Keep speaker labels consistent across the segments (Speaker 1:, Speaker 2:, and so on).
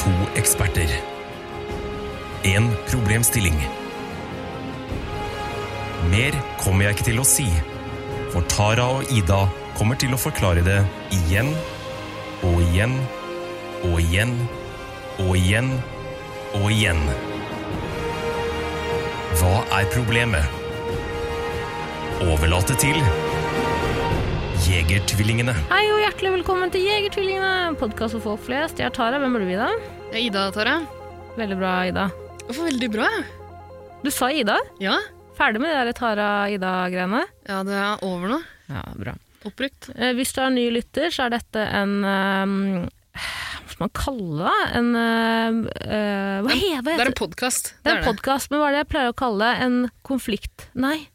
Speaker 1: To eksperter. En problemstilling. Mer kommer jeg ikke til å si, for Tara og Ida kommer til å forklare det igjen og igjen og igjen og igjen og igjen. Hva er problemet? Overlate til Jegertvillingene.
Speaker 2: Hei og hjertelig velkommen til Jegertvillingene, podkast for folk flest. Jeg er Tara, hvem burde vi da?
Speaker 3: Ja, Ida, Tara.
Speaker 2: Veldig bra, Ida.
Speaker 3: Det var veldig bra.
Speaker 2: Du sa Ida?
Speaker 3: Ja.
Speaker 2: Ferdig med det der Tara-Ida-greiene?
Speaker 3: ja, det er over nå.
Speaker 2: Ja, bra.
Speaker 3: Oppbrukt.
Speaker 2: Eh, Hvis du er ny lytter, så er dette en eh, Hva skal man kalle det? da? En eh, eh, Hva heter
Speaker 3: Det
Speaker 2: det?
Speaker 3: er en podkast.
Speaker 2: Det er en podkast, men hva er det jeg pleier å kalle det? En konflikt... Nei.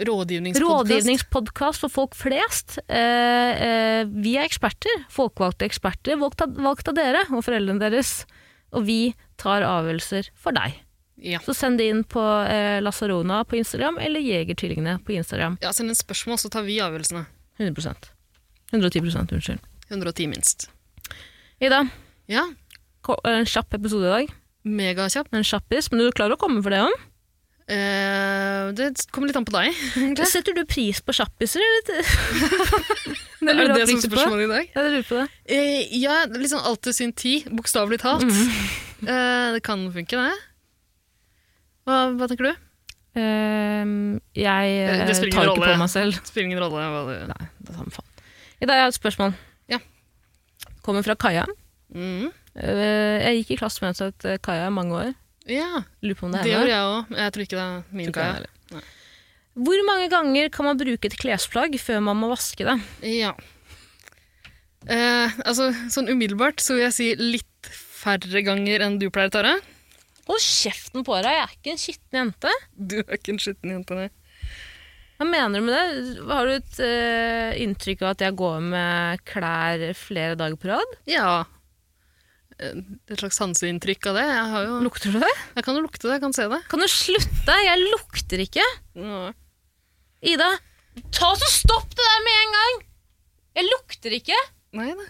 Speaker 3: Rådgivningspodkast.
Speaker 2: Rådgivningspodkast for folk flest. Eh, eh, vi er eksperter, folkevalgte eksperter, valgt av, valgt av dere og foreldrene deres. Og vi tar avgjørelser for deg.
Speaker 3: Ja.
Speaker 2: Så send det inn på eh, Lasarona på Instagram eller Jegertvillingene på Instagram.
Speaker 3: ja, send en spørsmål, så tar vi avgjørelsene.
Speaker 2: 100 110 unnskyld.
Speaker 3: 110 minst.
Speaker 2: Ida,
Speaker 3: Ja,
Speaker 2: ko- eh, en kjapp episode i dag.
Speaker 3: megakjapp.
Speaker 2: En kjappis, men du klarer å komme for det òg.
Speaker 3: Eh, det kommer litt an på deg, egentlig.
Speaker 2: Setter du pris på kjappiser, eller? det
Speaker 3: Er
Speaker 2: lurer jeg
Speaker 3: det det som er
Speaker 2: oppriktig på.
Speaker 3: spørsmålet i dag?
Speaker 2: Ja, jeg lurer på det.
Speaker 3: Eh, ja, litt sånn alt til sin tid, bokstavelig talt. Eh, det kan funke, det. Hva, hva tenker du?
Speaker 2: Ehm, jeg
Speaker 3: Det-
Speaker 2: eh,
Speaker 3: det
Speaker 2: tar
Speaker 3: spiller
Speaker 2: ikke
Speaker 3: ingen rolle.
Speaker 2: på meg selv.
Speaker 3: Spiller ingen rolle. Hva det...
Speaker 2: Nei, det er samme faen. I dag har jeg et spørsmål.
Speaker 3: Ja.
Speaker 2: Kommer fra Kaja.
Speaker 3: Mm.
Speaker 2: Eh, jeg gikk i klasse med henne til Kaja i mange år.
Speaker 3: Ja,
Speaker 2: Lurer på om det
Speaker 3: det
Speaker 2: er
Speaker 3: gjør
Speaker 2: henne.
Speaker 3: jeg òg. Jeg tror ikke det er
Speaker 2: Tror
Speaker 3: min
Speaker 2: ikke det er
Speaker 3: kaja.
Speaker 2: henne. Hvor mange ganger kan man bruke et klesplagg før man må vaske det?
Speaker 3: Ja. Eh, altså, sånn umiddelbart så vil jeg si litt færre ganger enn du pleier, Tara.
Speaker 2: Hold kjeften på deg, jeg er ikke en skitten jente.
Speaker 3: Du er ikke en skitten jente, nei.
Speaker 2: Hva mener du med det? Har du et eh, inntrykk av at jeg går med klær flere dager på rad?
Speaker 3: Ja. Eh, Et slags sanseinntrykk av det. Jeg, har jo,
Speaker 2: Lukter du det?
Speaker 3: jeg kan jo lukte det, jeg kan se det.
Speaker 2: Kan du slutte? Jeg lukter ikke.
Speaker 3: Ja.
Speaker 2: Ida, ta så stopp det der med en gang! Jeg lukter ikke!
Speaker 3: Nei da.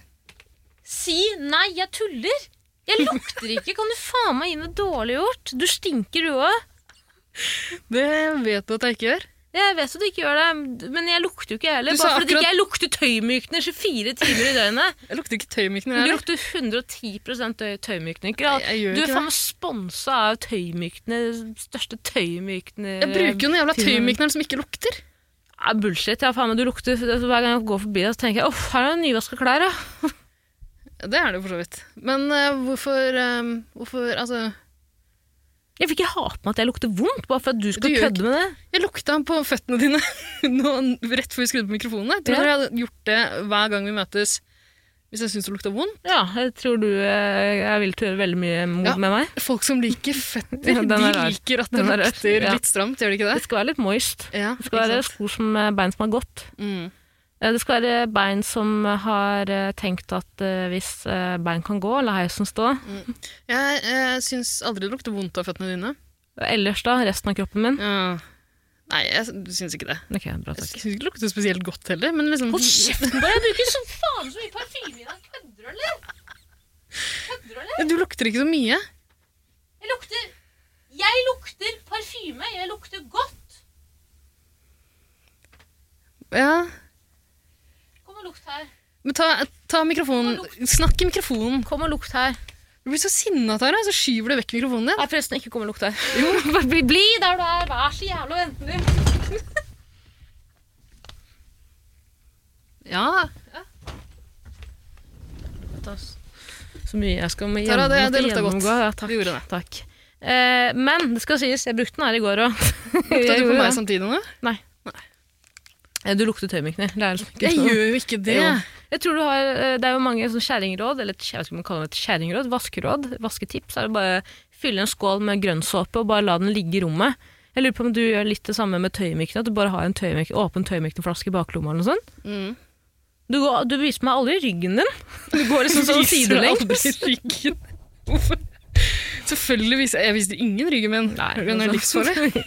Speaker 2: Si nei, jeg tuller! Jeg lukter ikke! Kan du faen meg gi noe dårlig gjort? Du stinker, du òg.
Speaker 3: Det vet du at jeg ikke gjør.
Speaker 2: Jeg vet at du ikke gjør det, men jeg lukter jo ikke jeg heller.
Speaker 3: Du sa
Speaker 2: Bare fordi
Speaker 3: akkurat-
Speaker 2: ikke jeg lukter tøymykner 24 timer i døgnet.
Speaker 3: Jeg lukter ikke tøymykner.
Speaker 2: Du
Speaker 3: jeg heller.
Speaker 2: lukter 110 tøy- tøymykner.
Speaker 3: Jeg- jeg gjør
Speaker 2: Du er
Speaker 3: ikke
Speaker 2: faen
Speaker 3: det.
Speaker 2: meg sponsa av tøymykner, største tøymykner
Speaker 3: Jeg bruker jo den jævla
Speaker 2: Filmen.
Speaker 3: tøymykneren som ikke lukter.
Speaker 2: ja, Bullshit. Ja, faen meg, du lukter altså, Hver gang jeg går forbi deg, så tenker jeg uff, her er det nyvaska klær, ja.
Speaker 3: Det er det jo for så vidt. Men eh, hvorfor, eh, hvorfor Altså,
Speaker 2: Jeg vil ikke ha på meg at jeg lukter vondt, bare for at du skal
Speaker 3: Du gjør
Speaker 2: kødde med det.
Speaker 3: Jeg lukta på føttene dine nå, rett før vi skrudde på mikrofonene. Jeg tror
Speaker 2: Ja.
Speaker 3: jeg hadde gjort det hver gang vi møtes hvis jeg syns det lukta vondt.
Speaker 2: Ja, jeg tror du eh, er villig til å gjøre veldig mye mot
Speaker 3: Ja.
Speaker 2: med meg.
Speaker 3: Folk som liker føtter,
Speaker 2: Ja, den
Speaker 3: de
Speaker 2: er rar.
Speaker 3: liker at det
Speaker 2: Den er rar.
Speaker 3: lukter
Speaker 2: Ja.
Speaker 3: litt stramt, gjør det ikke
Speaker 2: Det
Speaker 3: det?
Speaker 2: skal være litt moist.
Speaker 3: Ja,
Speaker 2: Det skal være
Speaker 3: ikke sant?
Speaker 2: sko som eh, bein som har gått.
Speaker 3: mm.
Speaker 2: Eh, Det skal være bein som har eh, tenkt at eh, hvis eh, bein kan gå, la heisen stå.
Speaker 3: Jeg eh, syns aldri det lukter vondt av føttene dine.
Speaker 2: Ellers da, resten av kroppen min.
Speaker 3: Ja. Nei, jeg syns ikke det.
Speaker 2: Ok, bra
Speaker 3: Jeg
Speaker 2: takk.
Speaker 3: syns ikke det lukter spesielt godt heller, men liksom
Speaker 2: Hold kjeften på deg! Jeg bruker så faen så mye parfyme i dag. Kødder du, eller? Kødder du, eller?
Speaker 3: Du lukter ikke så mye.
Speaker 2: Jeg lukter Jeg lukter parfyme. Jeg lukter godt.
Speaker 3: Ja.
Speaker 2: Kom og lukt her.
Speaker 3: Men ta, ta mikrofonen. Snakk i mikrofonen.
Speaker 2: Kom og lukt her.
Speaker 3: Du blir så sinna, Tara, så skyver du vekk mikrofonen din.
Speaker 2: Nei, forresten, ikke kom og lukt her. Bare bli, bli der du er. Vær så jævla ventelig.
Speaker 3: Ja,
Speaker 2: Så mye jeg skal må
Speaker 3: Tara, det-
Speaker 2: gjennom-
Speaker 3: det
Speaker 2: måtte
Speaker 3: lukta godt.
Speaker 2: gjennomgå. Ja, takk.
Speaker 3: du gjorde det.
Speaker 2: takk. Eh, men det skal sies, jeg brukte den her i går òg.
Speaker 3: Lukta du på meg samtidig nå?
Speaker 2: Eh, Du lukter tøymykner. Det er liksom ikke
Speaker 3: Jeg
Speaker 2: noe-
Speaker 3: gjør jo ikke det.
Speaker 2: Jo. Jeg tror du har, eh, Det er jo mange sånn kjerringråd, eller et- jeg vet ikke om man kaller det et kjerringråd, vaskeråd, vasketips. er det bare Fylle en skål med grønnsåpe og bare la den ligge i rommet. Jeg lurer på om du gjør litt det samme med tøymykne, at du bare har en tøymykne, åpen tøymykneflaske i baklomma eller noe sånt.
Speaker 3: Mm.
Speaker 2: Du, går, du viser meg aldri ryggen din. Du går liksom sånn
Speaker 3: Viser du aldri
Speaker 2: sidelengs.
Speaker 3: ryggen? Hvorfor? Selvfølgelig viser jeg viser ingen ryggen min. Den er livsfarlig.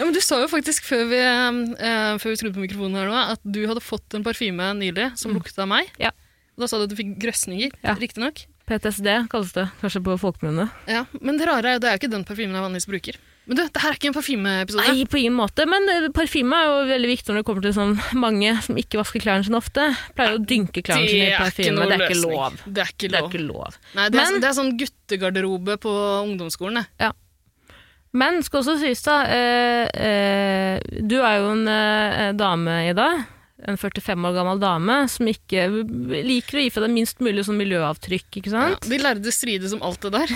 Speaker 3: Ja, men du sa jo faktisk før vi, eh, før vi skrudde på mikrofonen her nå, at du hadde fått en parfyme nylig som lukta meg.
Speaker 2: Mm. Ja.
Speaker 3: Og da sa du at du fikk grøsninger,
Speaker 2: Ja.
Speaker 3: riktignok.
Speaker 2: PTSD kalles det kanskje på folkemunne.
Speaker 3: Ja, men det rare er jo det er jo ikke den parfymen jeg vanligvis bruker. Men du, det her er ikke en parfymeepisode.
Speaker 2: Nei, på ingen måte, men eh, parfyme er jo veldig viktig når det kommer til sånn mange som ikke vasker klærne sine ofte. Pleier å dynke klærne sine i parfyme. Det er ikke lov.
Speaker 3: Det er ikke
Speaker 2: Det er
Speaker 3: lov.
Speaker 2: ikke lov.
Speaker 3: Nei, det, er,
Speaker 2: Men-
Speaker 3: det er sånn guttegarderobe på ungdomsskolen. det.
Speaker 2: Men skal også sies, da eh, eh, Du er jo en eh, dame, Ida. En 45 år gammel dame som ikke liker å gi fra deg minst mulig sånn miljøavtrykk. ikke
Speaker 3: Ja,
Speaker 2: sant?
Speaker 3: de lærde strides om alt det der.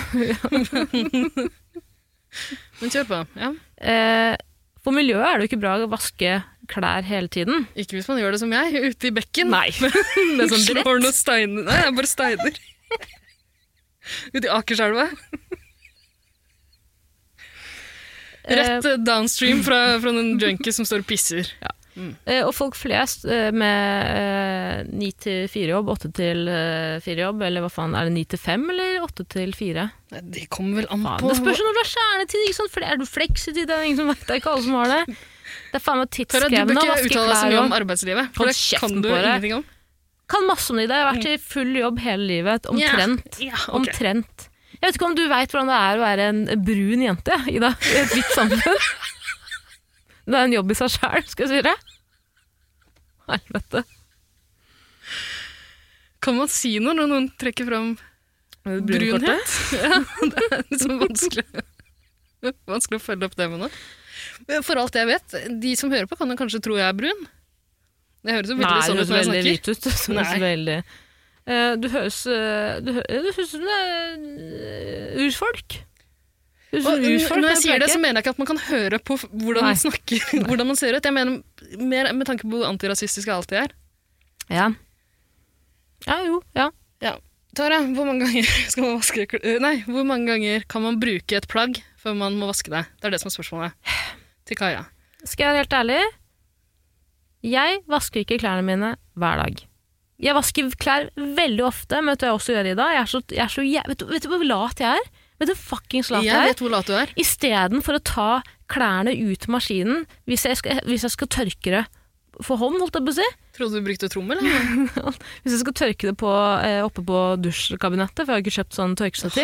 Speaker 3: men kjør på. Ja.
Speaker 2: Eh, for miljøet er det jo ikke bra å vaske klær hele tiden.
Speaker 3: Ikke hvis man gjør det som jeg, ute i bekken.
Speaker 2: Nei.
Speaker 3: Med
Speaker 2: sånn brett.
Speaker 3: Slår noen steiner. Nei, jeg bare steiner. Ute i Akerselva. Rett eh, downstream fra, fra noen junkies som står og pisser.
Speaker 2: Eh, og folk flest eh, med ni til fire-jobb, åtte til fire-jobb, eller hva faen, er det ni til fem eller åtte til fire?
Speaker 3: Nei, det kommer vel an
Speaker 2: Faen,
Speaker 3: på
Speaker 2: Det spørs jo når du har kjernetid. Ikke sant? For er du fleksitid? Det er ingen som vet det. er ikke alle som har det. Det er faen meg
Speaker 3: Tara, du bør
Speaker 2: tidskrevende å
Speaker 3: ikke
Speaker 2: vaske
Speaker 3: uttale deg så
Speaker 2: klær
Speaker 3: mye om
Speaker 2: og
Speaker 3: arbeidslivet.
Speaker 2: Hold
Speaker 3: For det
Speaker 2: kjeften
Speaker 3: kan du
Speaker 2: på deg.
Speaker 3: ingenting om.
Speaker 2: Kan masse om det i dag. Jeg har vært i full jobb hele livet. Omtrent.
Speaker 3: Mm. Ja, ok.
Speaker 2: Omtrent. Jeg vet ikke om du veit hvordan det er å være en brun jente Ida, i et hvitt samfunn. Det er en jobb i seg sjæl, skal jeg si det. Helvete.
Speaker 3: Kan man si noe når noen trekker fram brunhet? Ja, det er liksom vanskelig. vanskelig å følge opp det med noe. Men For alt jeg vet, de som hører på, kan jo kanskje tro jeg er brun. Det høres jo
Speaker 2: Nei,
Speaker 3: veldig
Speaker 2: du
Speaker 3: sånn
Speaker 2: høres
Speaker 3: ut når jeg
Speaker 2: veldig
Speaker 3: snakker.
Speaker 2: hvit ut. Du høres
Speaker 3: Nei.
Speaker 2: veldig Eh, Du høres eh, Du hø- du høres ut som eh, urfolk. Du høres ut som
Speaker 3: Og
Speaker 2: urfolk,
Speaker 3: når jeg
Speaker 2: det
Speaker 3: sier det,
Speaker 2: pleier
Speaker 3: så
Speaker 2: ikke.
Speaker 3: mener jeg ikke at man kan høre på f- hvordan
Speaker 2: Nei.
Speaker 3: man snakker, hvordan man ser ut. Jeg mener mer med tanke på hvor antirasistisk jeg alltid er.
Speaker 2: Ja. ja, jo. Ja.
Speaker 3: Tara, hvor mange ganger skal man vaske kl- øh, Nei, hvor mange ganger kan man bruke et plagg før man må vaske det? Det er det som er spørsmålet. Til Kaja.
Speaker 2: Skal jeg være helt ærlig? Jeg vasker ikke klærne mine hver dag. Jeg vasker klær veldig ofte, men vet du hva jeg også gjør i dag? Jeg er så, jeg er så, jæv- vet, du, vet du hvor lat jeg er? Vet du hvor fuckings lat jeg
Speaker 3: Jeg
Speaker 2: er?
Speaker 3: vet hvor lat du er.
Speaker 2: Istedenfor å ta klærne ut av maskinen hvis jeg, skal, hvis jeg skal tørke det for hånd, holdt jeg på å si.
Speaker 3: Trodde du brukte trommel? eller?
Speaker 2: Hvis jeg skal tørke det på, eh, oppe på dusjkabinettet, for jeg har ikke kjøpt sånn tørkestativ.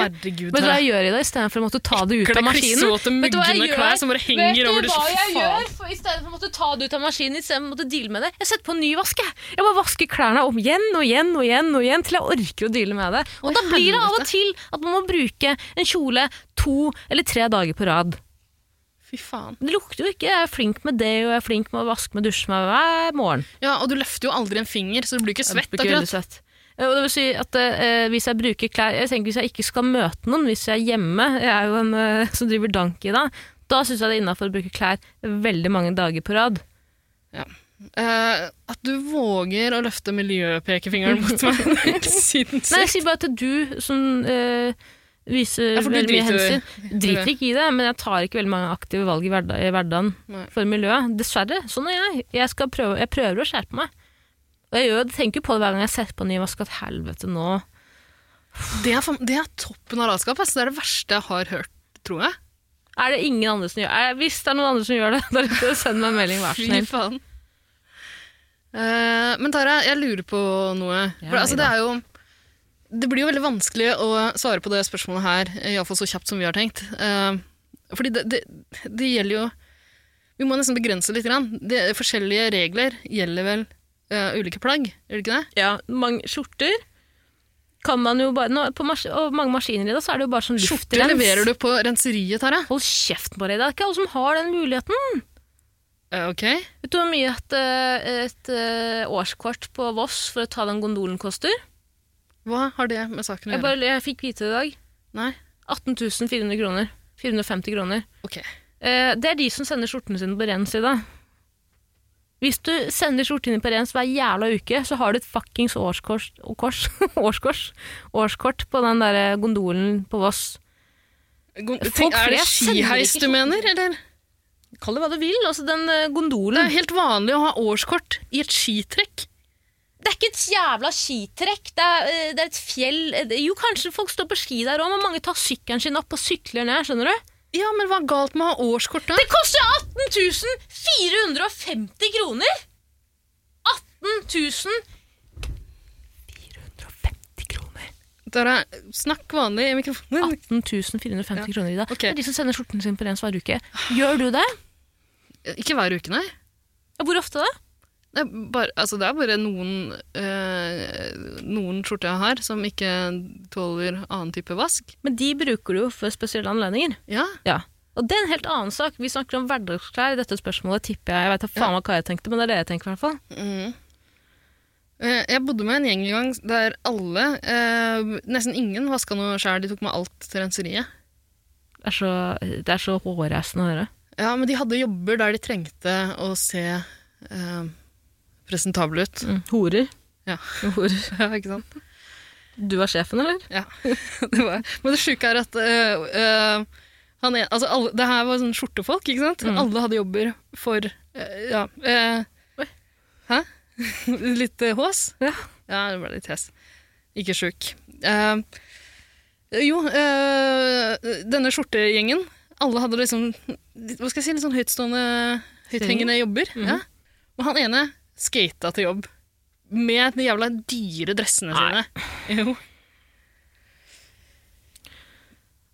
Speaker 2: Vet
Speaker 3: Herregud,
Speaker 2: du hva
Speaker 3: Tara.
Speaker 2: jeg gjør i dag, istedenfor å måtte ta det ut
Speaker 3: Ekle,
Speaker 2: av maskinen?
Speaker 3: klissvåte,
Speaker 2: Vet du hva jeg
Speaker 3: muggende
Speaker 2: gjør?
Speaker 3: klær som bare
Speaker 2: Vet du
Speaker 3: henger over det.
Speaker 2: hva jeg
Speaker 3: Faen.
Speaker 2: gjør? For I stedet for å måtte ta det ut av maskinen, i stedet for å måtte deale med det, jeg setter på en ny vask. Jeg Jeg bare vasker klærne om igjen og igjen og igjen og igjen til jeg orker å deale med det.
Speaker 3: Oi,
Speaker 2: Og da blir det av og
Speaker 3: helvete.
Speaker 2: til at man må bruke en kjole to eller tre dager på rad.
Speaker 3: Fy faen.
Speaker 2: Det lukter jo ikke. Jeg er flink med det, og jeg er flink med å vaske med og dusje med hver morgen.
Speaker 3: Ja, og du løfter jo aldri en finger, så du blir ikke svett
Speaker 2: Det blir ikke veldig
Speaker 3: akkurat.
Speaker 2: svett. Eh, Og det vil si at eh, hvis jeg bruker klær Jeg tenker hvis jeg ikke skal møte noen, hvis jeg er hjemme, jeg er jo en eh, som driver dank i dag, da syns jeg det er innafor å bruke klær veldig mange dager på rad.
Speaker 3: Eh, at du våger å løfte miljøpekefingeren mot meg. Sinnssykt.
Speaker 2: Nei, jeg sier bare at du som eh, viser
Speaker 3: Ja, for du
Speaker 2: veldig mye
Speaker 3: driter jo i-
Speaker 2: hensyn, driter ikke i det, men jeg tar ikke veldig mange aktive valg i, hverda i hverdagen
Speaker 3: Nei.
Speaker 2: for miljøet. Dessverre. Sånn er jeg. Jeg, skal prøve, jeg prøver å skjerpe meg. Og jeg gjør, tenker jo på det hver gang jeg setter på en ny vask, at helvete, nå
Speaker 3: Det er, faen- det er toppen av latskap. ass. Det er det verste jeg har hørt, tror jeg.
Speaker 2: Er det ingen andre som gjør er, Hvis det er noen andre som gjør det, da er det bare å sende meg en melding, vær så
Speaker 3: Fy
Speaker 2: snill.
Speaker 3: faen. Eh, men Tara, jeg lurer på noe.
Speaker 2: Ja,
Speaker 3: For, altså, det,
Speaker 2: Ida.
Speaker 3: er jo, det blir jo veldig vanskelig å svare på det spørsmålet her, eh, iallfall så kjapt som vi har tenkt. Eh, fordi det, det, det gjelder jo Vi må nesten begrense litt. Grann. Det, forskjellige regler gjelder vel eh, ulike plagg, gjør det ikke det?
Speaker 2: Ja, mange skjorter kan man jo bare nå, på mas Og mange maskiner i dag, så er det jo bare sånn
Speaker 3: Skjorter leverer du på renseriet, Tara.
Speaker 2: Hold kjeften på deg, det er ikke alle som har den muligheten.
Speaker 3: Eh, ok.
Speaker 2: Vet du hvor mye et, eh, et eh, årskort på Voss for å ta den gondolen koster?
Speaker 3: Hva har det med saken å
Speaker 2: Jeg,
Speaker 3: gjøre?
Speaker 2: bare, jeg fikk vite det i dag.
Speaker 3: Nei?
Speaker 2: 18 400 kroner. 450 kroner.
Speaker 3: Ok.
Speaker 2: Eh, det er de som sender skjortene sine på rens i dag. Hvis du sender skjortene dine på rens hver jævla uke, så har du et fuckings årskors, å, kors, årskors, årskort på den der eh, gondolen på Voss.
Speaker 3: Gon-
Speaker 2: Folk
Speaker 3: Tenk, er det
Speaker 2: flest sender
Speaker 3: skiheis
Speaker 2: ikke
Speaker 3: du
Speaker 2: skjorter.
Speaker 3: mener, eller?
Speaker 2: Kall det hva du vil. Altså, den eh,
Speaker 3: Det
Speaker 2: gondolen
Speaker 3: er helt vanlig å ha årskort i et skitrekk.
Speaker 2: Det er ikke et jævla skitrekk. Det er, eh, det er et fjell Eh, det- Jo, kanskje folk står på ski der òg, men mange tar sykkelen sin opp og sykler ned. skjønner du?
Speaker 3: Ja, men hva er galt med å ha årskort da?
Speaker 2: Det koster 18 450 kroner! 18 450
Speaker 3: Tara, snakk vanlig i mikrofonen.
Speaker 2: 18 450
Speaker 3: Ja.
Speaker 2: kroner i dag.
Speaker 3: Ok.
Speaker 2: Det er de som sender skjorten sin på ren svar uke. Gjør du det?
Speaker 3: Ah, Ikke hver uke, nei.
Speaker 2: Ja, hvor ofte da?
Speaker 3: Det er bare, altså det er bare noen, eh, noen skjorter jeg har som ikke tåler annen type vask.
Speaker 2: Men de bruker du jo for spesielle anledninger.
Speaker 3: Ja,
Speaker 2: Ja. Og det er en helt annen sak. Vi snakker om hverdagsklær i dette spørsmålet, tipper jeg. Jeg vet da faen meg hva jeg tenkte, men det er det jeg tenker i hvert fall.
Speaker 3: Mm. Eh, Jeg bodde med en gjeng en gang der alle, eh, nesten ingen, vaska noe sjæl. De tok med alt til renseriet.
Speaker 2: Det er så, det er så hårreisende å høre.
Speaker 3: Ja, men de hadde jobber der de trengte å se eh, presentable ut.
Speaker 2: Mm. Horer.
Speaker 3: Ja.
Speaker 2: Horer.
Speaker 3: Ja, ikke sant?
Speaker 2: Du var sjefen, eller?
Speaker 3: Ja, det var. Men det sjuke er at eh, eh, han er, altså alle, det her var sånn skjortefolk, ikke sant?
Speaker 2: Mm.
Speaker 3: Alle hadde jobber for eh, ja, eh,
Speaker 2: Oi.
Speaker 3: Hæ? litt eh, hås?
Speaker 2: Ja.
Speaker 3: Ja, det ble litt hes. Ikke sjuk. Eh, jo, eh, denne skjortegjengen, alle hadde liksom litt- Hva skal jeg si, litt sånn høytstående, høythengende jobber. ja.
Speaker 2: Mhm.
Speaker 3: Og han ene skata til jobb med de jævla dyre dressene
Speaker 2: Nei.
Speaker 3: sine. Jo.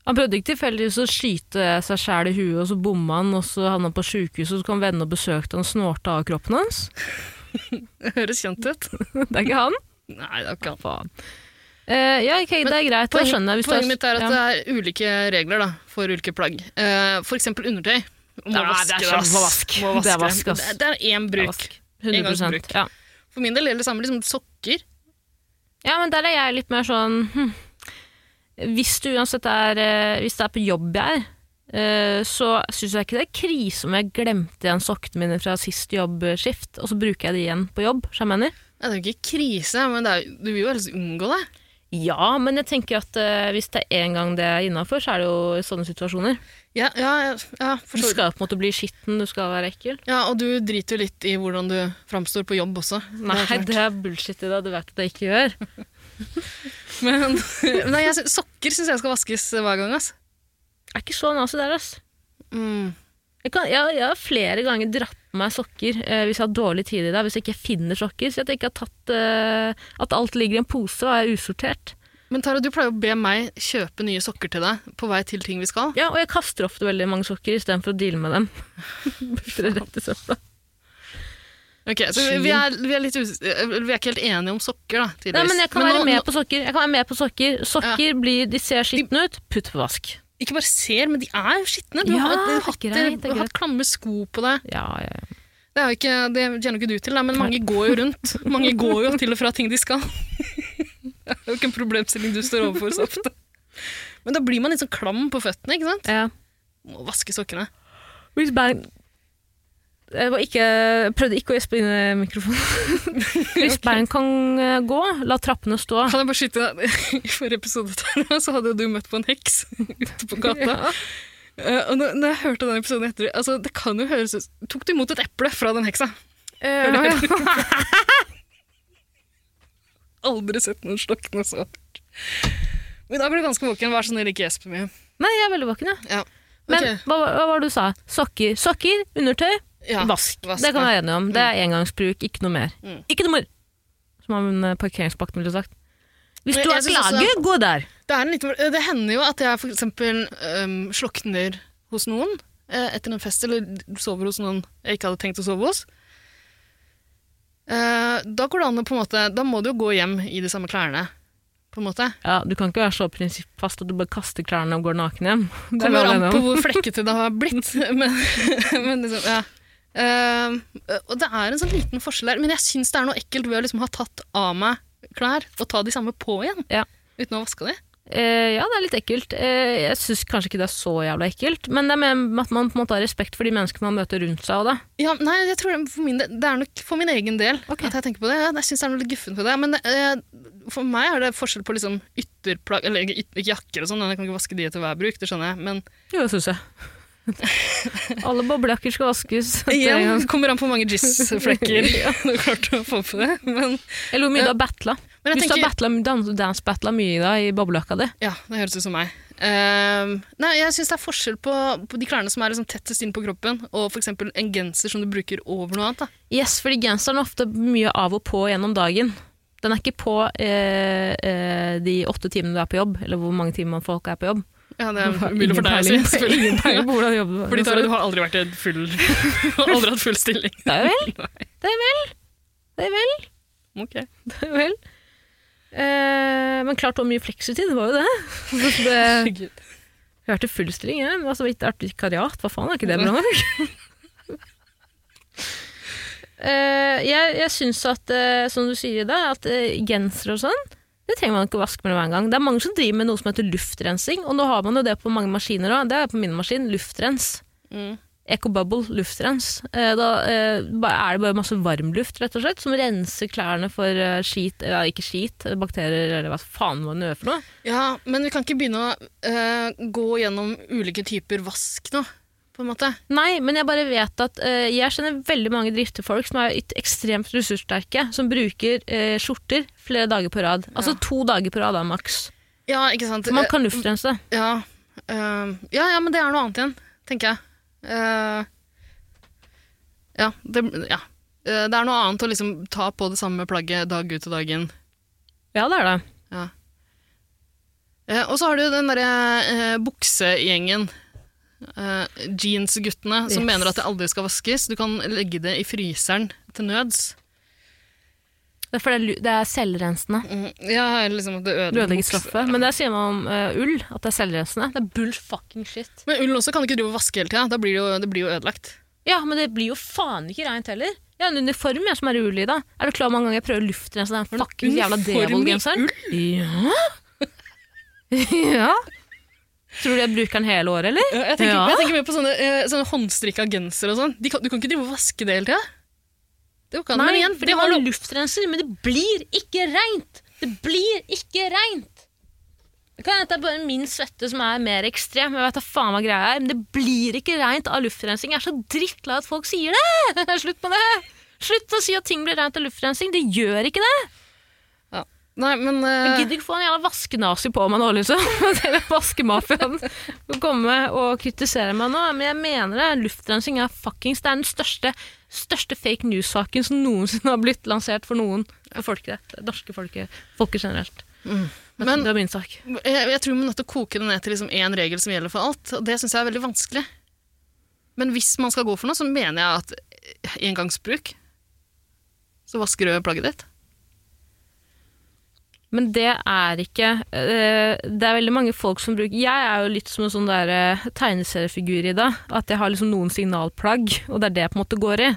Speaker 2: Han prøvde ikke tilfeldigvis å skyte seg sjæl i huet, og så bomma han, og så havna han på sjukehus, og så kom venner og besøkte han og snorta av kroppen hans.
Speaker 3: Det høres kjent ut.
Speaker 2: Det er ikke han.
Speaker 3: Nei, det er ikke han.
Speaker 2: Faen. Eh, ja, ok, det er greit. Da skjønner jeg. hvis du har-
Speaker 3: poenget mitt er at
Speaker 2: ja.
Speaker 3: det er ulike regler da, for ulike plagg. Eh, for eksempel undertøy. Må
Speaker 2: Nei,
Speaker 3: vaske,
Speaker 2: det er
Speaker 3: ass.
Speaker 2: sånn vask.
Speaker 3: Må
Speaker 2: Det er
Speaker 3: vaske.
Speaker 2: vask, ass.
Speaker 3: Det er- det er én bruk.
Speaker 2: Vask.
Speaker 3: Engangsbruk.
Speaker 2: 100 ja.
Speaker 3: For min del gjelder det samme. Liksom, sokker.
Speaker 2: ja, men der er jeg litt mer sånn hm. Hvis du uansett er eh, Hvis det er på jobb jeg er, eh, så syns jeg ikke det er krise om jeg glemte igjen sokkene mine fra sist jobbskift, og så bruker jeg de igjen på jobb, skjønner jeg mener.
Speaker 3: Nei, det er jo ikke krise, men det er, jo- du vil jo helst unngå det.
Speaker 2: Ja, men jeg tenker at eh, hvis det er én gang det er innafor, så er det jo i sånne situasjoner.
Speaker 3: Ja, ja, ja, ja,
Speaker 2: Du
Speaker 3: forstår.
Speaker 2: skal på en måte bli skitten, du skal være ekkel.
Speaker 3: ja, og du driter jo litt i hvordan du framstår på jobb også.
Speaker 2: Nei,
Speaker 3: Det
Speaker 2: det er bullshit i deg, du vet at jeg ikke gjør.
Speaker 3: er klart. men nei, jeg, sy- sokker syns jeg skal vaskes hver gang. Ass.
Speaker 2: Det er ikke så nazi der, ass.
Speaker 3: Mm.
Speaker 2: Jeg, kan, jeg, jeg har flere ganger dratt på meg sokker eh, hvis jeg har dårlig tid i dag, hvis jeg ikke finner sokker. Så jeg tenker at, tatt, eh, at alt ligger i en pose og er usortert.
Speaker 3: Men Tara, du pleier å be meg kjøpe nye sokker til deg på vei til ting vi skal.
Speaker 2: Ja, og jeg kaster ofte veldig mange sokker istedenfor å deale med dem. Bare rett i søpla.
Speaker 3: Ok, så vi, vi, er, vi, er litt us eh, vi er ikke helt enige om sokker, da.
Speaker 2: Nei,
Speaker 3: tydeligvis.
Speaker 2: men jeg kan
Speaker 3: nå-
Speaker 2: være med
Speaker 3: nå-
Speaker 2: på sokker. Jeg kan være med på Sokker Sokker blir, de ser skitne ut, putt på vask.
Speaker 3: Ikke bare ser, men de er jo skitne. Du
Speaker 2: Ja,
Speaker 3: har,
Speaker 2: det er
Speaker 3: hatt,
Speaker 2: greit, det er
Speaker 3: du har hatt klamme sko på deg.
Speaker 2: Ja, ja.
Speaker 3: Det, er jo ikke, det kjenner jo ikke du til, da, men mange går jo rundt. Mange går jo til og fra ting de skal. Det er jo ikke en problemstilling du står overfor så ofte. Men da blir man litt sånn klam på føttene, ikke sant?
Speaker 2: ja.
Speaker 3: Må vaske sokkene.
Speaker 2: Hvis Bang jeg, var ikke, jeg prøvde ikke å gjespe inn i mikrofonen. Hvis Bang kan eh, gå, la trappene stå.
Speaker 3: Kan jeg bare skyte I forrige episode Tara, så hadde jo du møtt på en heks ute på gata.
Speaker 2: Ja.
Speaker 3: Eh, og når, når jeg hørte den episoden etter, altså, det kan jo høres ut Tok du imot et eple fra den heksa?
Speaker 2: Ja, ja.
Speaker 3: Aldri sett noen slokne så hardt. Men da ble du ganske våken. Vær så snill, ikke gjesp mye.
Speaker 2: Nei, jeg er veldig våken, jeg.
Speaker 3: Ja.
Speaker 2: Men
Speaker 3: Ok.
Speaker 2: hva, hva var det du sa? Sokker, sokker undertøy,
Speaker 3: Ja,
Speaker 2: vask.
Speaker 3: vask,
Speaker 2: Det kan vi
Speaker 3: ja.
Speaker 2: være enige om. Det er engangsbruk, ikke noe mer.
Speaker 3: Mm.
Speaker 2: Ikke noe mer! Som han eh, parkeringsvakten ville sagt. Hvis
Speaker 3: Men
Speaker 2: du
Speaker 3: jeg
Speaker 2: har
Speaker 3: synes også-
Speaker 2: klage, gå der!
Speaker 3: Det, er en liten, det hender jo at jeg for eksempel øhm, slokner hos noen eh, etter en fest, eller sover hos noen jeg ikke hadde tenkt å sove hos. Eh, da går det an å på en måte Da må du jo gå hjem i de samme klærne, på en måte.
Speaker 2: Ja, Du kan ikke være så prinsippfast at du bare kaster klærne og går naken hjem. Det er vi
Speaker 3: Kommer
Speaker 2: alle
Speaker 3: an
Speaker 2: enige
Speaker 3: på
Speaker 2: om.
Speaker 3: hvor flekkete det har blitt. Men, men liksom, ja. Ehm, og det er en sånn liten forskjell der. Men jeg syns det er noe ekkelt ved å liksom ha tatt av meg klær og ta de samme på igjen.
Speaker 2: Ja.
Speaker 3: Uten å ha vaska de.
Speaker 2: Eh, ja, det er litt ekkelt. Eh, jeg syns kanskje ikke det er så jævla ekkelt, men det er med at man på en måte har respekt for de menneskene man møter rundt seg. Og det.
Speaker 3: Ja, nei, jeg tror det, for min, del- det er nok for min egen del
Speaker 2: Ok.
Speaker 3: at jeg tenker på det. Ja, jeg syns det er noe litt guffent ved det. Men eh, for meg er det forskjell på liksom ytterplagg Eller ikke yt- ikke jakker og sånn, jeg kan ikke vaske de etter hver bruk, det skjønner jeg. Men
Speaker 2: Jo, det syns jeg. Alle boblejakker skal vaskes.
Speaker 3: igjen kommer an på hvor mange jizz-flekker du klarte å få på det. Men,
Speaker 2: Eller hvor mye du har battla.
Speaker 3: men jeg
Speaker 2: Hvis du har
Speaker 3: tenker
Speaker 2: battla, dans, dance-battla mye da, i boblejakka di.
Speaker 3: Ja, det høres ut som meg. Ehm, nei, jeg syns det er forskjell på, på de klærne som er liksom tettest inn på kroppen, og f.eks. en genser som du bruker over noe annet. Da.
Speaker 2: Yes, fordi genseren er ofte mye av og på gjennom dagen. Den er ikke på eh, eh, de åtte timene du er på jobb, eller hvor mange timer folk er på jobb.
Speaker 3: Ja, det
Speaker 2: Du har
Speaker 3: er umulig for
Speaker 2: ingen
Speaker 3: deg å si,
Speaker 2: peiling på- Ingen peiling
Speaker 3: selvfølgelig.
Speaker 2: på hvordan jobben
Speaker 3: Fordi Tara, du har aldri vært i en full har aldri hatt full stilling.
Speaker 2: Det er vel, det er vel, det er vel,
Speaker 3: Ok.
Speaker 2: det er vel. Eh, men klart det var mye fleksitid, det var jo det. Så det
Speaker 3: Herregud.
Speaker 2: jeg hørte full stilling, jeg, men altså ikke artikariat, hva faen, er ikke det bra nok? Eh, jeg jeg syns at, eh, som du sier i dag, at eh, gensere og sånn, det trenger man ikke å vaske med hver gang. Det er mange som driver med noe som heter luftrensing, og nå har man jo det på mange maskiner òg. Det er på min maskin, luftrens.
Speaker 3: Mm.
Speaker 2: EcoBubble luftrens. Eh, Da eh, ba- er det bare masse varmluft, rett og slett, som renser klærne for eh, skit, ja, ikke skit, eh, bakterier eller hva faen man gjør for noe.
Speaker 3: Ja, men vi kan ikke begynne å eh, gå gjennom ulike typer vask nå, på en måte.
Speaker 2: Nei, men jeg bare vet at eh, jeg kjenner veldig mange driftefolk som er yt- ekstremt ressurssterke, som bruker eh, skjorter flere dager på rad. Altså to dager på rad da, maks.
Speaker 3: Ja, ikke sant?
Speaker 2: Man kan luftrense.
Speaker 3: Eh, ja, eh, ja, ja, men det er noe annet igjen, tenker jeg. Eh, ja, det, ja. Eh, det er noe annet å liksom ta på det samme plagget dag ut og dag inn.
Speaker 2: Ja, det er det.
Speaker 3: Ja. Eh, og så har du jo den derre eh, buksegjengen. Eh, jeansguttene som
Speaker 2: Yes.
Speaker 3: mener at det aldri skal vaskes. Du kan legge det i fryseren til nøds.
Speaker 2: Det er, fordi det er lu- det er selvrensende.
Speaker 3: Mm, ja, eller liksom at det
Speaker 2: Du
Speaker 3: ødelegger
Speaker 2: ødelegger
Speaker 3: buks-
Speaker 2: stoffet. Men der sier man om eh, ull at det er selvrensende. Det er bull fucking shit.
Speaker 3: Men ull også kan du ikke drive og vaske hele tida. Da blir det jo, det blir jo ødelagt.
Speaker 2: Ja, men det blir jo faen ikke reint heller. Jeg har en uniform jeg som er i ull i, da. Er du klar over hvor mange ganger jeg prøver å luftrense den fuckings jævla
Speaker 3: uniform i
Speaker 2: Devold-genseren? Ja. ja. Tror du jeg bruker den hele året, eller?
Speaker 3: Ja, Eh, Jeg tenker,
Speaker 2: Ja.
Speaker 3: jeg tenker mer på sånne, eh, sånne håndstrikka gensere og sånn. De kan, du kan ikke drive og vaske det hele tida. Det går ikke an.
Speaker 2: Nei,
Speaker 3: Men igjen,
Speaker 2: for
Speaker 3: det
Speaker 2: de
Speaker 3: har
Speaker 2: har
Speaker 3: noe-
Speaker 2: luftrenser, men det blir ikke reint! Det blir ikke reint! Det kan hende at det er bare min svette som er mer ekstrem, jeg vet da faen hva greia er, men det blir ikke reint av luftrensing. Jeg er så drittlei at folk sier det! Slutt med det! Slutt å si at ting blir reint av luftrensing. Det gjør ikke det!
Speaker 3: Nei, men
Speaker 2: Jeg
Speaker 3: eh,
Speaker 2: gidder ikke få en jævla vaskenazi på meg nå, liksom. Dere vaskemafiaen skal komme og kritisere meg nå, men jeg mener det. Luftrensing er fuckings Det er den største, største fake news-saken som noensinne har blitt lansert for noen. For folket. Det norske folket. Folket generelt. Men,
Speaker 3: Men-
Speaker 2: det var min sak.
Speaker 3: jeg, jeg tror man er nødt til å koke det ned til liksom én regel som gjelder for alt, og det syns jeg er veldig vanskelig. Men hvis man skal gå for noe, så mener jeg at eh, engangsbruk Så vasker du plagget ditt.
Speaker 2: Men det er ikke eh, Det er veldig mange folk som bruker Jeg er jo litt som en sånn der eh, tegneseriefigur i dag. At jeg har liksom noen signalplagg, og det er det jeg på en måte går i.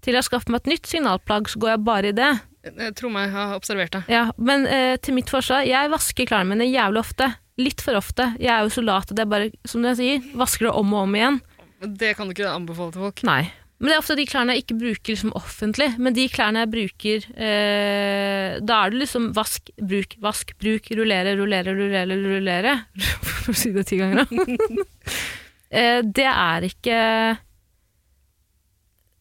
Speaker 2: Til jeg skaffer meg et nytt signalplagg, så går jeg bare i det.
Speaker 3: Jeg, jeg tror Eh, meg jeg har observert det.
Speaker 2: Ja, men eh, til mitt forsvar, jeg vasker klærne mine jævlig ofte. Litt for ofte. Jeg er jo så lat at jeg bare, som jeg sier, vasker det om og om igjen.
Speaker 3: Det kan du ikke anbefale til folk.
Speaker 2: Nei. Men det er ofte de klærne jeg ikke bruker liksom, offentlig. Men de klærne jeg bruker eh, Da er det liksom vask, bruk, vask, bruk, rullere, rullere, rullere, rullere. For å si det ti ganger, da. eh, det er ikke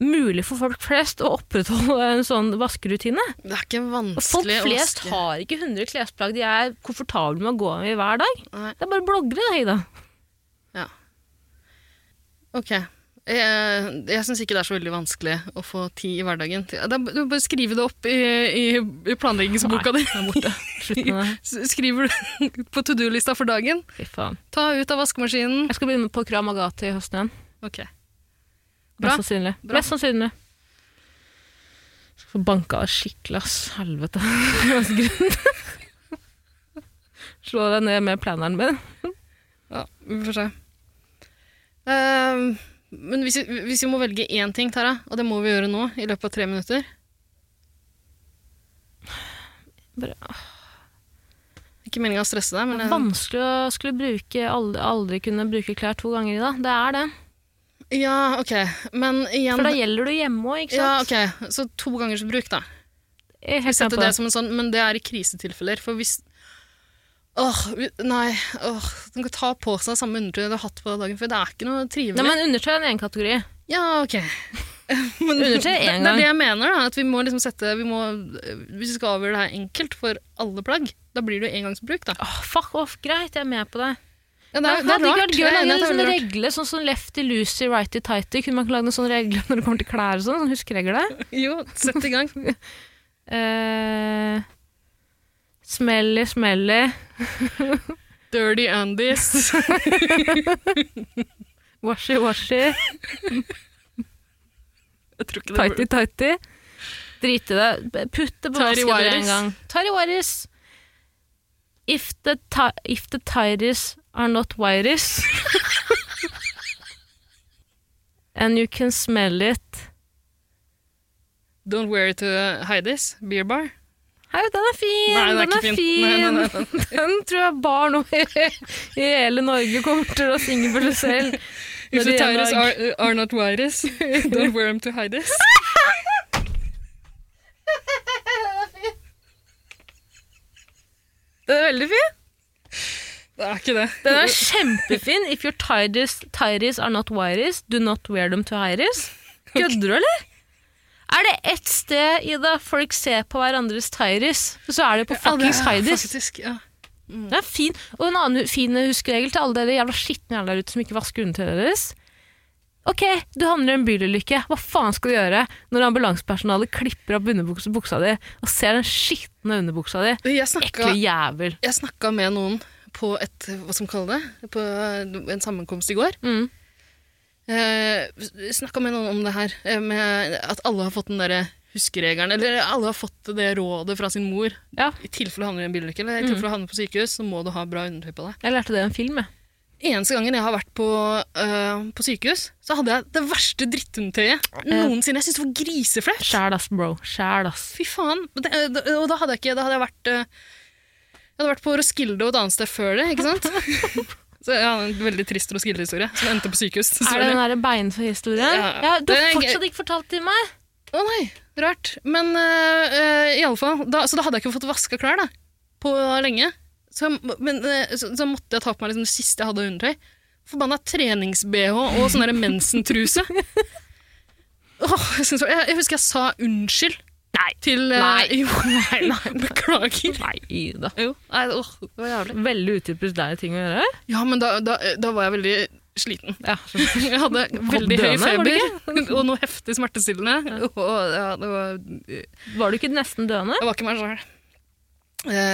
Speaker 2: mulig for folk flest å opprettholde en sånn vaskerutine.
Speaker 3: Det er ikke
Speaker 2: Og folk
Speaker 3: vanskelig å
Speaker 2: flest
Speaker 3: vaske.
Speaker 2: har ikke 100 klesplagg de er komfortable med å gå med i hver dag.
Speaker 3: Nei.
Speaker 2: Det er bare bloggere, da, Ida.
Speaker 3: Ok. Jeg, jeg syns ikke det er så veldig vanskelig å få tid i hverdagen. til- Det er, b- du må bare skrive det opp i, i, i planleggingsboka di.
Speaker 2: Slutt med det.
Speaker 3: S- Skriver du på to do-lista for dagen.
Speaker 2: Fy faen.
Speaker 3: Ta ut av vaskemaskinen.
Speaker 2: Jeg skal begynne på Krav Maga til høsten igjen.
Speaker 3: Ok. Bra.
Speaker 2: Mest sannsynlig.
Speaker 3: Bra.
Speaker 2: Mest sannsynlig. Skal få banka av skikkelig, ass. Helvete. Det var så grunnen. Slå deg ned med planeren min.
Speaker 3: Ja, vi får se. Ehm, men hvis vi, hvis vi må velge én ting, Tara, og det må vi gjøre nå i løpet av tre minutter
Speaker 2: Bare-
Speaker 3: Ikke meninga å stresse deg, men jeg-
Speaker 2: Vanskelig å skulle bruke aldri, aldri kunne bruke klær to ganger i dag. Det er det.
Speaker 3: Ja, ok. Men igjen
Speaker 2: For da gjelder du hjemme òg, ikke
Speaker 3: Ja,
Speaker 2: sant?
Speaker 3: ok. Så to gangers bruk, da.
Speaker 2: Jeg er
Speaker 3: Vi
Speaker 2: helt med
Speaker 3: setter
Speaker 2: på
Speaker 3: det
Speaker 2: det.
Speaker 3: som en sånn, men det er i krisetilfeller. For hvis Åh, vi- nei. Åh, den kan ta på seg samme undertøy du har hatt på dagen før. Det er ikke noe trivelig.
Speaker 2: Nei, men undertøy er en egen kategori.
Speaker 3: Ja, ok. Men
Speaker 2: Undertøy
Speaker 3: det,
Speaker 2: en
Speaker 3: det er
Speaker 2: gang.
Speaker 3: det jeg mener, da. At vi må liksom sette vi må, Hvis vi skal avgjøre det her enkelt for alle plagg, da blir det jo engangsbruk, da.
Speaker 2: Åh, fuck off, greit, jeg er med på det.
Speaker 3: Ja,
Speaker 2: Det, hadde ikke vært gøy å
Speaker 3: Jeg er
Speaker 2: lage en
Speaker 3: enig i at det er
Speaker 2: sånn
Speaker 3: veldig rart.
Speaker 2: regle, sånn som lefty loosey, righty tighty. Kunne man ikke lagd en sånn regle når det kommer til klær og sånn? sånn Huskeregler?
Speaker 3: Jo, sett i gang.
Speaker 2: Eh, smelly, smelly.
Speaker 3: Dirty Andies.
Speaker 2: Washy, washy.
Speaker 3: Jeg tror ikke det
Speaker 2: Tighty, tighty. Drit i det. Putt det på
Speaker 3: Tighty
Speaker 2: vaskedøra en
Speaker 3: whities.
Speaker 2: gang. Tighty whities. If the, ti if the tighties are not whities And you can smell it.
Speaker 3: Don't wear it to Heidis beer bar.
Speaker 2: Hei, den er fin!
Speaker 3: Nei, den er
Speaker 2: den
Speaker 3: ikke
Speaker 2: er fin!
Speaker 3: fin. Nei, nei, nei,
Speaker 2: Den tror jeg barn over i hele Norge kommer til å synge for seg selv.
Speaker 3: If
Speaker 2: Når
Speaker 3: the
Speaker 2: de en
Speaker 3: tires
Speaker 2: dag-
Speaker 3: are, are not virus, don't wear them to Heidis.
Speaker 2: Den er veldig fin!
Speaker 3: Det er ikke det.
Speaker 2: Den er kjempefin. If your tighties, tighties are not wiries, do not wear them to hiries. Kødder du, eller? Er det ett sted i det folk ser på hverandres tighties, så er det på fuckings hiries.
Speaker 3: Faktisk, ja.
Speaker 2: Det er fin. Og en annen fin huskeregel til alle dere jævla skitne jævla der ute som ikke vasker undertøyet deres. Ok, du havner i en bilulykke. Hva faen skal du gjøre når ambulansepersonalet klipper opp underbuksa buksa di og ser den skitne underbuksa di?
Speaker 3: Jeg snakka,
Speaker 2: Ekle jævel.
Speaker 3: jeg snakka med noen på et, hva som kaller det, på en sammenkomst i går.
Speaker 2: Mm.
Speaker 3: Eh, snakka med noen om det her, eh, med at alle har fått den derre huskeregelen, eller alle har fått det rådet fra sin mor.
Speaker 2: Ja. Mm.
Speaker 3: I tilfelle du havner i en bilulykke, eller i tilfelle du havner på sykehus, så må du ha bra undertøy på deg.
Speaker 2: Jeg lærte det i en film, jeg.
Speaker 3: Eneste gangen jeg har vært på, øh, på sykehus, så hadde jeg det verste drittundertøyet noensinne. Jeg syntes det var griseflaut.
Speaker 2: Sjæl ass, bro. Sjæl ass.
Speaker 3: Fy faen. Men Det, det- og da hadde jeg ikke Da hadde jeg vært øh, Jeg hadde vært på Roskilde og et annet sted før det, ikke sant? så jeg hadde en veldig trist Roskilde-historie som endte på sykehus.
Speaker 2: Er det den derre beinhistorien?
Speaker 3: Ja.
Speaker 2: Ja, du
Speaker 3: Det er
Speaker 2: har
Speaker 3: en
Speaker 2: fortsatt ikke fortalt til meg!
Speaker 3: Å nei, rart. Men øh, øh, i alle fall, da, så da hadde jeg ikke fått vaska klær da, på lenge. Så, jeg- men, øh, så, så måtte jeg ta på meg liksom, det siste jeg hadde av undertøy. Forbanna trenings-BH og sånn der mensentruse. Åh, jeg, synes, jeg, jeg husker jeg sa unnskyld
Speaker 2: Nei.
Speaker 3: til øh,
Speaker 2: Nei.
Speaker 3: Jo, nei, nei, beklager.
Speaker 2: Nei, Ida.
Speaker 3: Jo, nei, åh, det var jævlig.
Speaker 2: Veldig utilfredsstillende ting å gjøre.
Speaker 3: Ja, men da, da, da var jeg veldig sliten.
Speaker 2: Ja,
Speaker 3: Jeg hadde veldig høy
Speaker 2: døende, var
Speaker 3: feber
Speaker 2: det
Speaker 3: og noe heftig smertestillende. Og, ja, det var, jeg
Speaker 2: Var du ikke nesten døende?
Speaker 3: var ikke meg sjøl.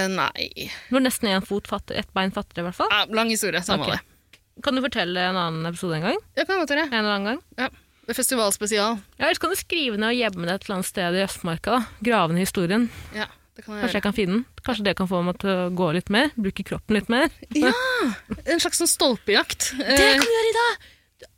Speaker 3: nei
Speaker 2: Du var nesten én fot fattig, ett bein fattigere, i hvert fall.
Speaker 3: Ja, Lang historie. Samme
Speaker 2: Ok.
Speaker 3: av det.
Speaker 2: Kan du fortelle en annen episode en gang?
Speaker 3: Jeg kan godt gjøre det.
Speaker 2: En eller annen gang?
Speaker 3: Ja. Festivalspesial.
Speaker 2: Ja, Ellers kan du skrive ned og gjemme det et eller annet sted i Østmarka. da. Grave ned historien.
Speaker 3: Ja, det kan jeg
Speaker 2: Kanskje
Speaker 3: gjøre.
Speaker 2: jeg kan finne den. Kanskje det kan få meg til å gå litt mer? Bruke kroppen litt mer?
Speaker 3: En slags sånn stolpejakt.
Speaker 2: Det
Speaker 3: Eh,
Speaker 2: kan du gjøre, Ida!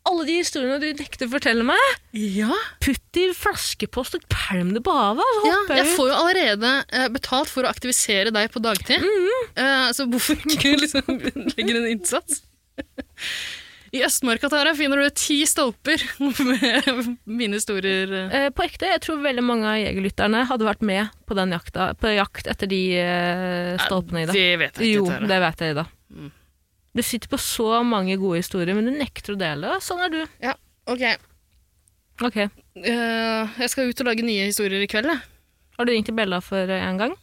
Speaker 2: Alle de historiene du nekter å fortelle meg,
Speaker 3: ja.
Speaker 2: putt i flaskepost og pælm det på havet, så
Speaker 3: ja,
Speaker 2: hopper
Speaker 3: jeg
Speaker 2: jeg ut.
Speaker 3: får jo allerede eh, betalt for å aktivisere deg på dagtid,
Speaker 2: Mhm.
Speaker 3: eh, så hvorfor ikke liksom legge en innsats? I Østmarka Tara, finner du ti stolper med mine historier. eh.
Speaker 2: Eh, På ekte, jeg tror veldig mange av jegerlytterne hadde vært med på den jakta, på jakt etter de eh, stolpene, Ida.
Speaker 3: Det vet jeg ikke.
Speaker 2: Jo,
Speaker 3: Tara.
Speaker 2: det vet jeg, Mm. Ida. Du sitter på så mange gode historier, men du nekter å dele. Sånn er du.
Speaker 3: Ja, ok.
Speaker 2: Ok.
Speaker 3: Eh, jeg skal ut og lage nye historier i kveld, jeg.
Speaker 2: Har du ringt til Bella for eh, en gang?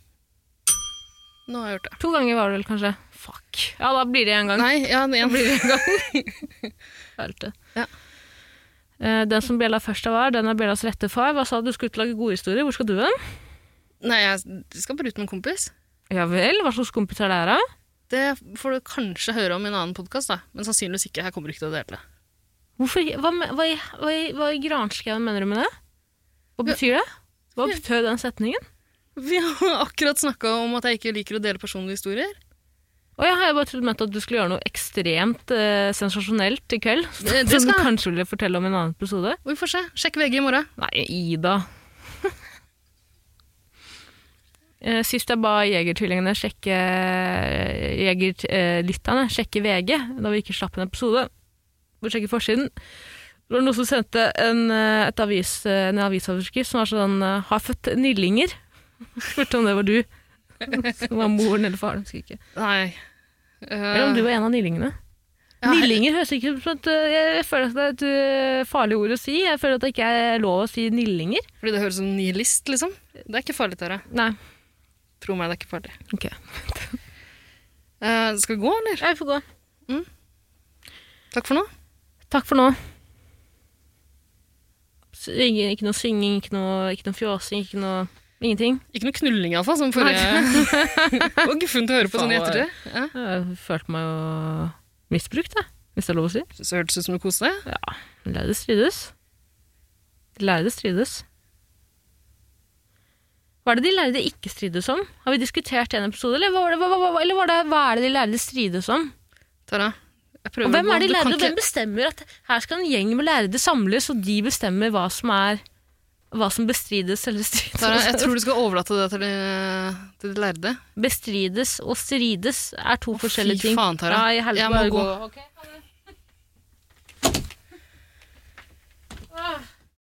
Speaker 3: Nå har jeg gjort det.
Speaker 2: To ganger var det vel kanskje? Fuck. Ja, da blir det en gang.
Speaker 3: Nei, ja, en blir det en gang.
Speaker 2: Følte.
Speaker 3: Ja.
Speaker 2: Eh, Den som Bella først var, den er Bellas rette far. Hva sa du? Du skulle ut og lage gode historier. Hvor skal du hen?
Speaker 3: Nei, jeg skal bare ut med en kompis.
Speaker 2: Ja vel, hva slags kompis er det her, da?
Speaker 3: Det får du kanskje høre om i en annen podkast, men sannsynligvis ikke. Jeg kommer ikke til å dele det.
Speaker 2: Hvorfor, hva, me- hva, i- hva, i- hva i granskauen mener du med det? Hva betyr det? Hva betød den setningen?
Speaker 3: Vi har akkurat snakka om at jeg ikke liker å dele personlige historier.
Speaker 2: Å ja, jeg bare trodde du mente at du skulle gjøre noe ekstremt eh, sensasjonelt i kveld.
Speaker 3: Det- det
Speaker 2: som du
Speaker 3: skal jeg.
Speaker 2: kanskje ville fortelle om i en annen episode.
Speaker 3: Og vi får se. Sjekk VG i morgen.
Speaker 2: Nei, Ida. Eh, Sist jeg ba Jegertvillingene sjekke eh, Jegerlytterne sjekke VG, da vi ikke slapp en episode, for å sjekke forsiden, det var noen som sendte en, eh, et avis, eh, en avisoverskrift som var sånn eh, 'Har født nillinger'. Spurte om det var du. Som var moren eller faren. husker jeg ikke.
Speaker 3: Nei. Eh,
Speaker 2: Eller om du var en av nillingene.
Speaker 3: ja,
Speaker 2: Nillinger høres ikke ut som et eh, Jeg føler at det er et eh, farlig ord å si. Jeg føler at det ikke er lov å si nillinger.
Speaker 3: Fordi det høres ut som nihilist, liksom. Det er ikke farlig, Tara.
Speaker 2: Nei.
Speaker 3: Tro meg, det er ikke farlig.
Speaker 2: Ok.
Speaker 3: Eh, skal vi gå, eller?
Speaker 2: Ja, vi får gå.
Speaker 3: Takk for nå.
Speaker 2: Takk for nå. Syng, ikke noe synging, ikke noe, ikke noe fjåsing, ikke noe Ingenting.
Speaker 3: Ikke noe knulling, iallfall, som forrige Det var guffent å høre på sånn i
Speaker 2: Faen,
Speaker 3: ettertid. Ja.
Speaker 2: Jeg har følt meg jo misbrukt, jeg, hvis det er lov å si.
Speaker 3: Synes det hørtes ut som du koste deg.
Speaker 2: Ja, lærde strides. De lærde strides. Hva er det de lærde ikke strides om? Har vi diskutert en episode, eller, hva, var det- hva, hva, hva- eller var det, hva er det de lærde strides om?
Speaker 3: Tara, jeg prøver
Speaker 2: Og hvem
Speaker 3: å-
Speaker 2: er de
Speaker 3: du kan
Speaker 2: lærde, og
Speaker 3: ikke-
Speaker 2: hvem bestemmer at her skal en gjeng med lærde samles, og de bestemmer hva som er hva som bestrides eller strides?
Speaker 3: Tara, jeg tror du skal overlate det til de, til de lærde.
Speaker 2: Bestrides og strides er to
Speaker 3: Å,
Speaker 2: forskjellige
Speaker 3: fy
Speaker 2: ting.
Speaker 3: faen, Tara.
Speaker 2: Ja, i helvete,
Speaker 3: Jeg må
Speaker 2: bare
Speaker 3: gå.
Speaker 2: Ok, ha det.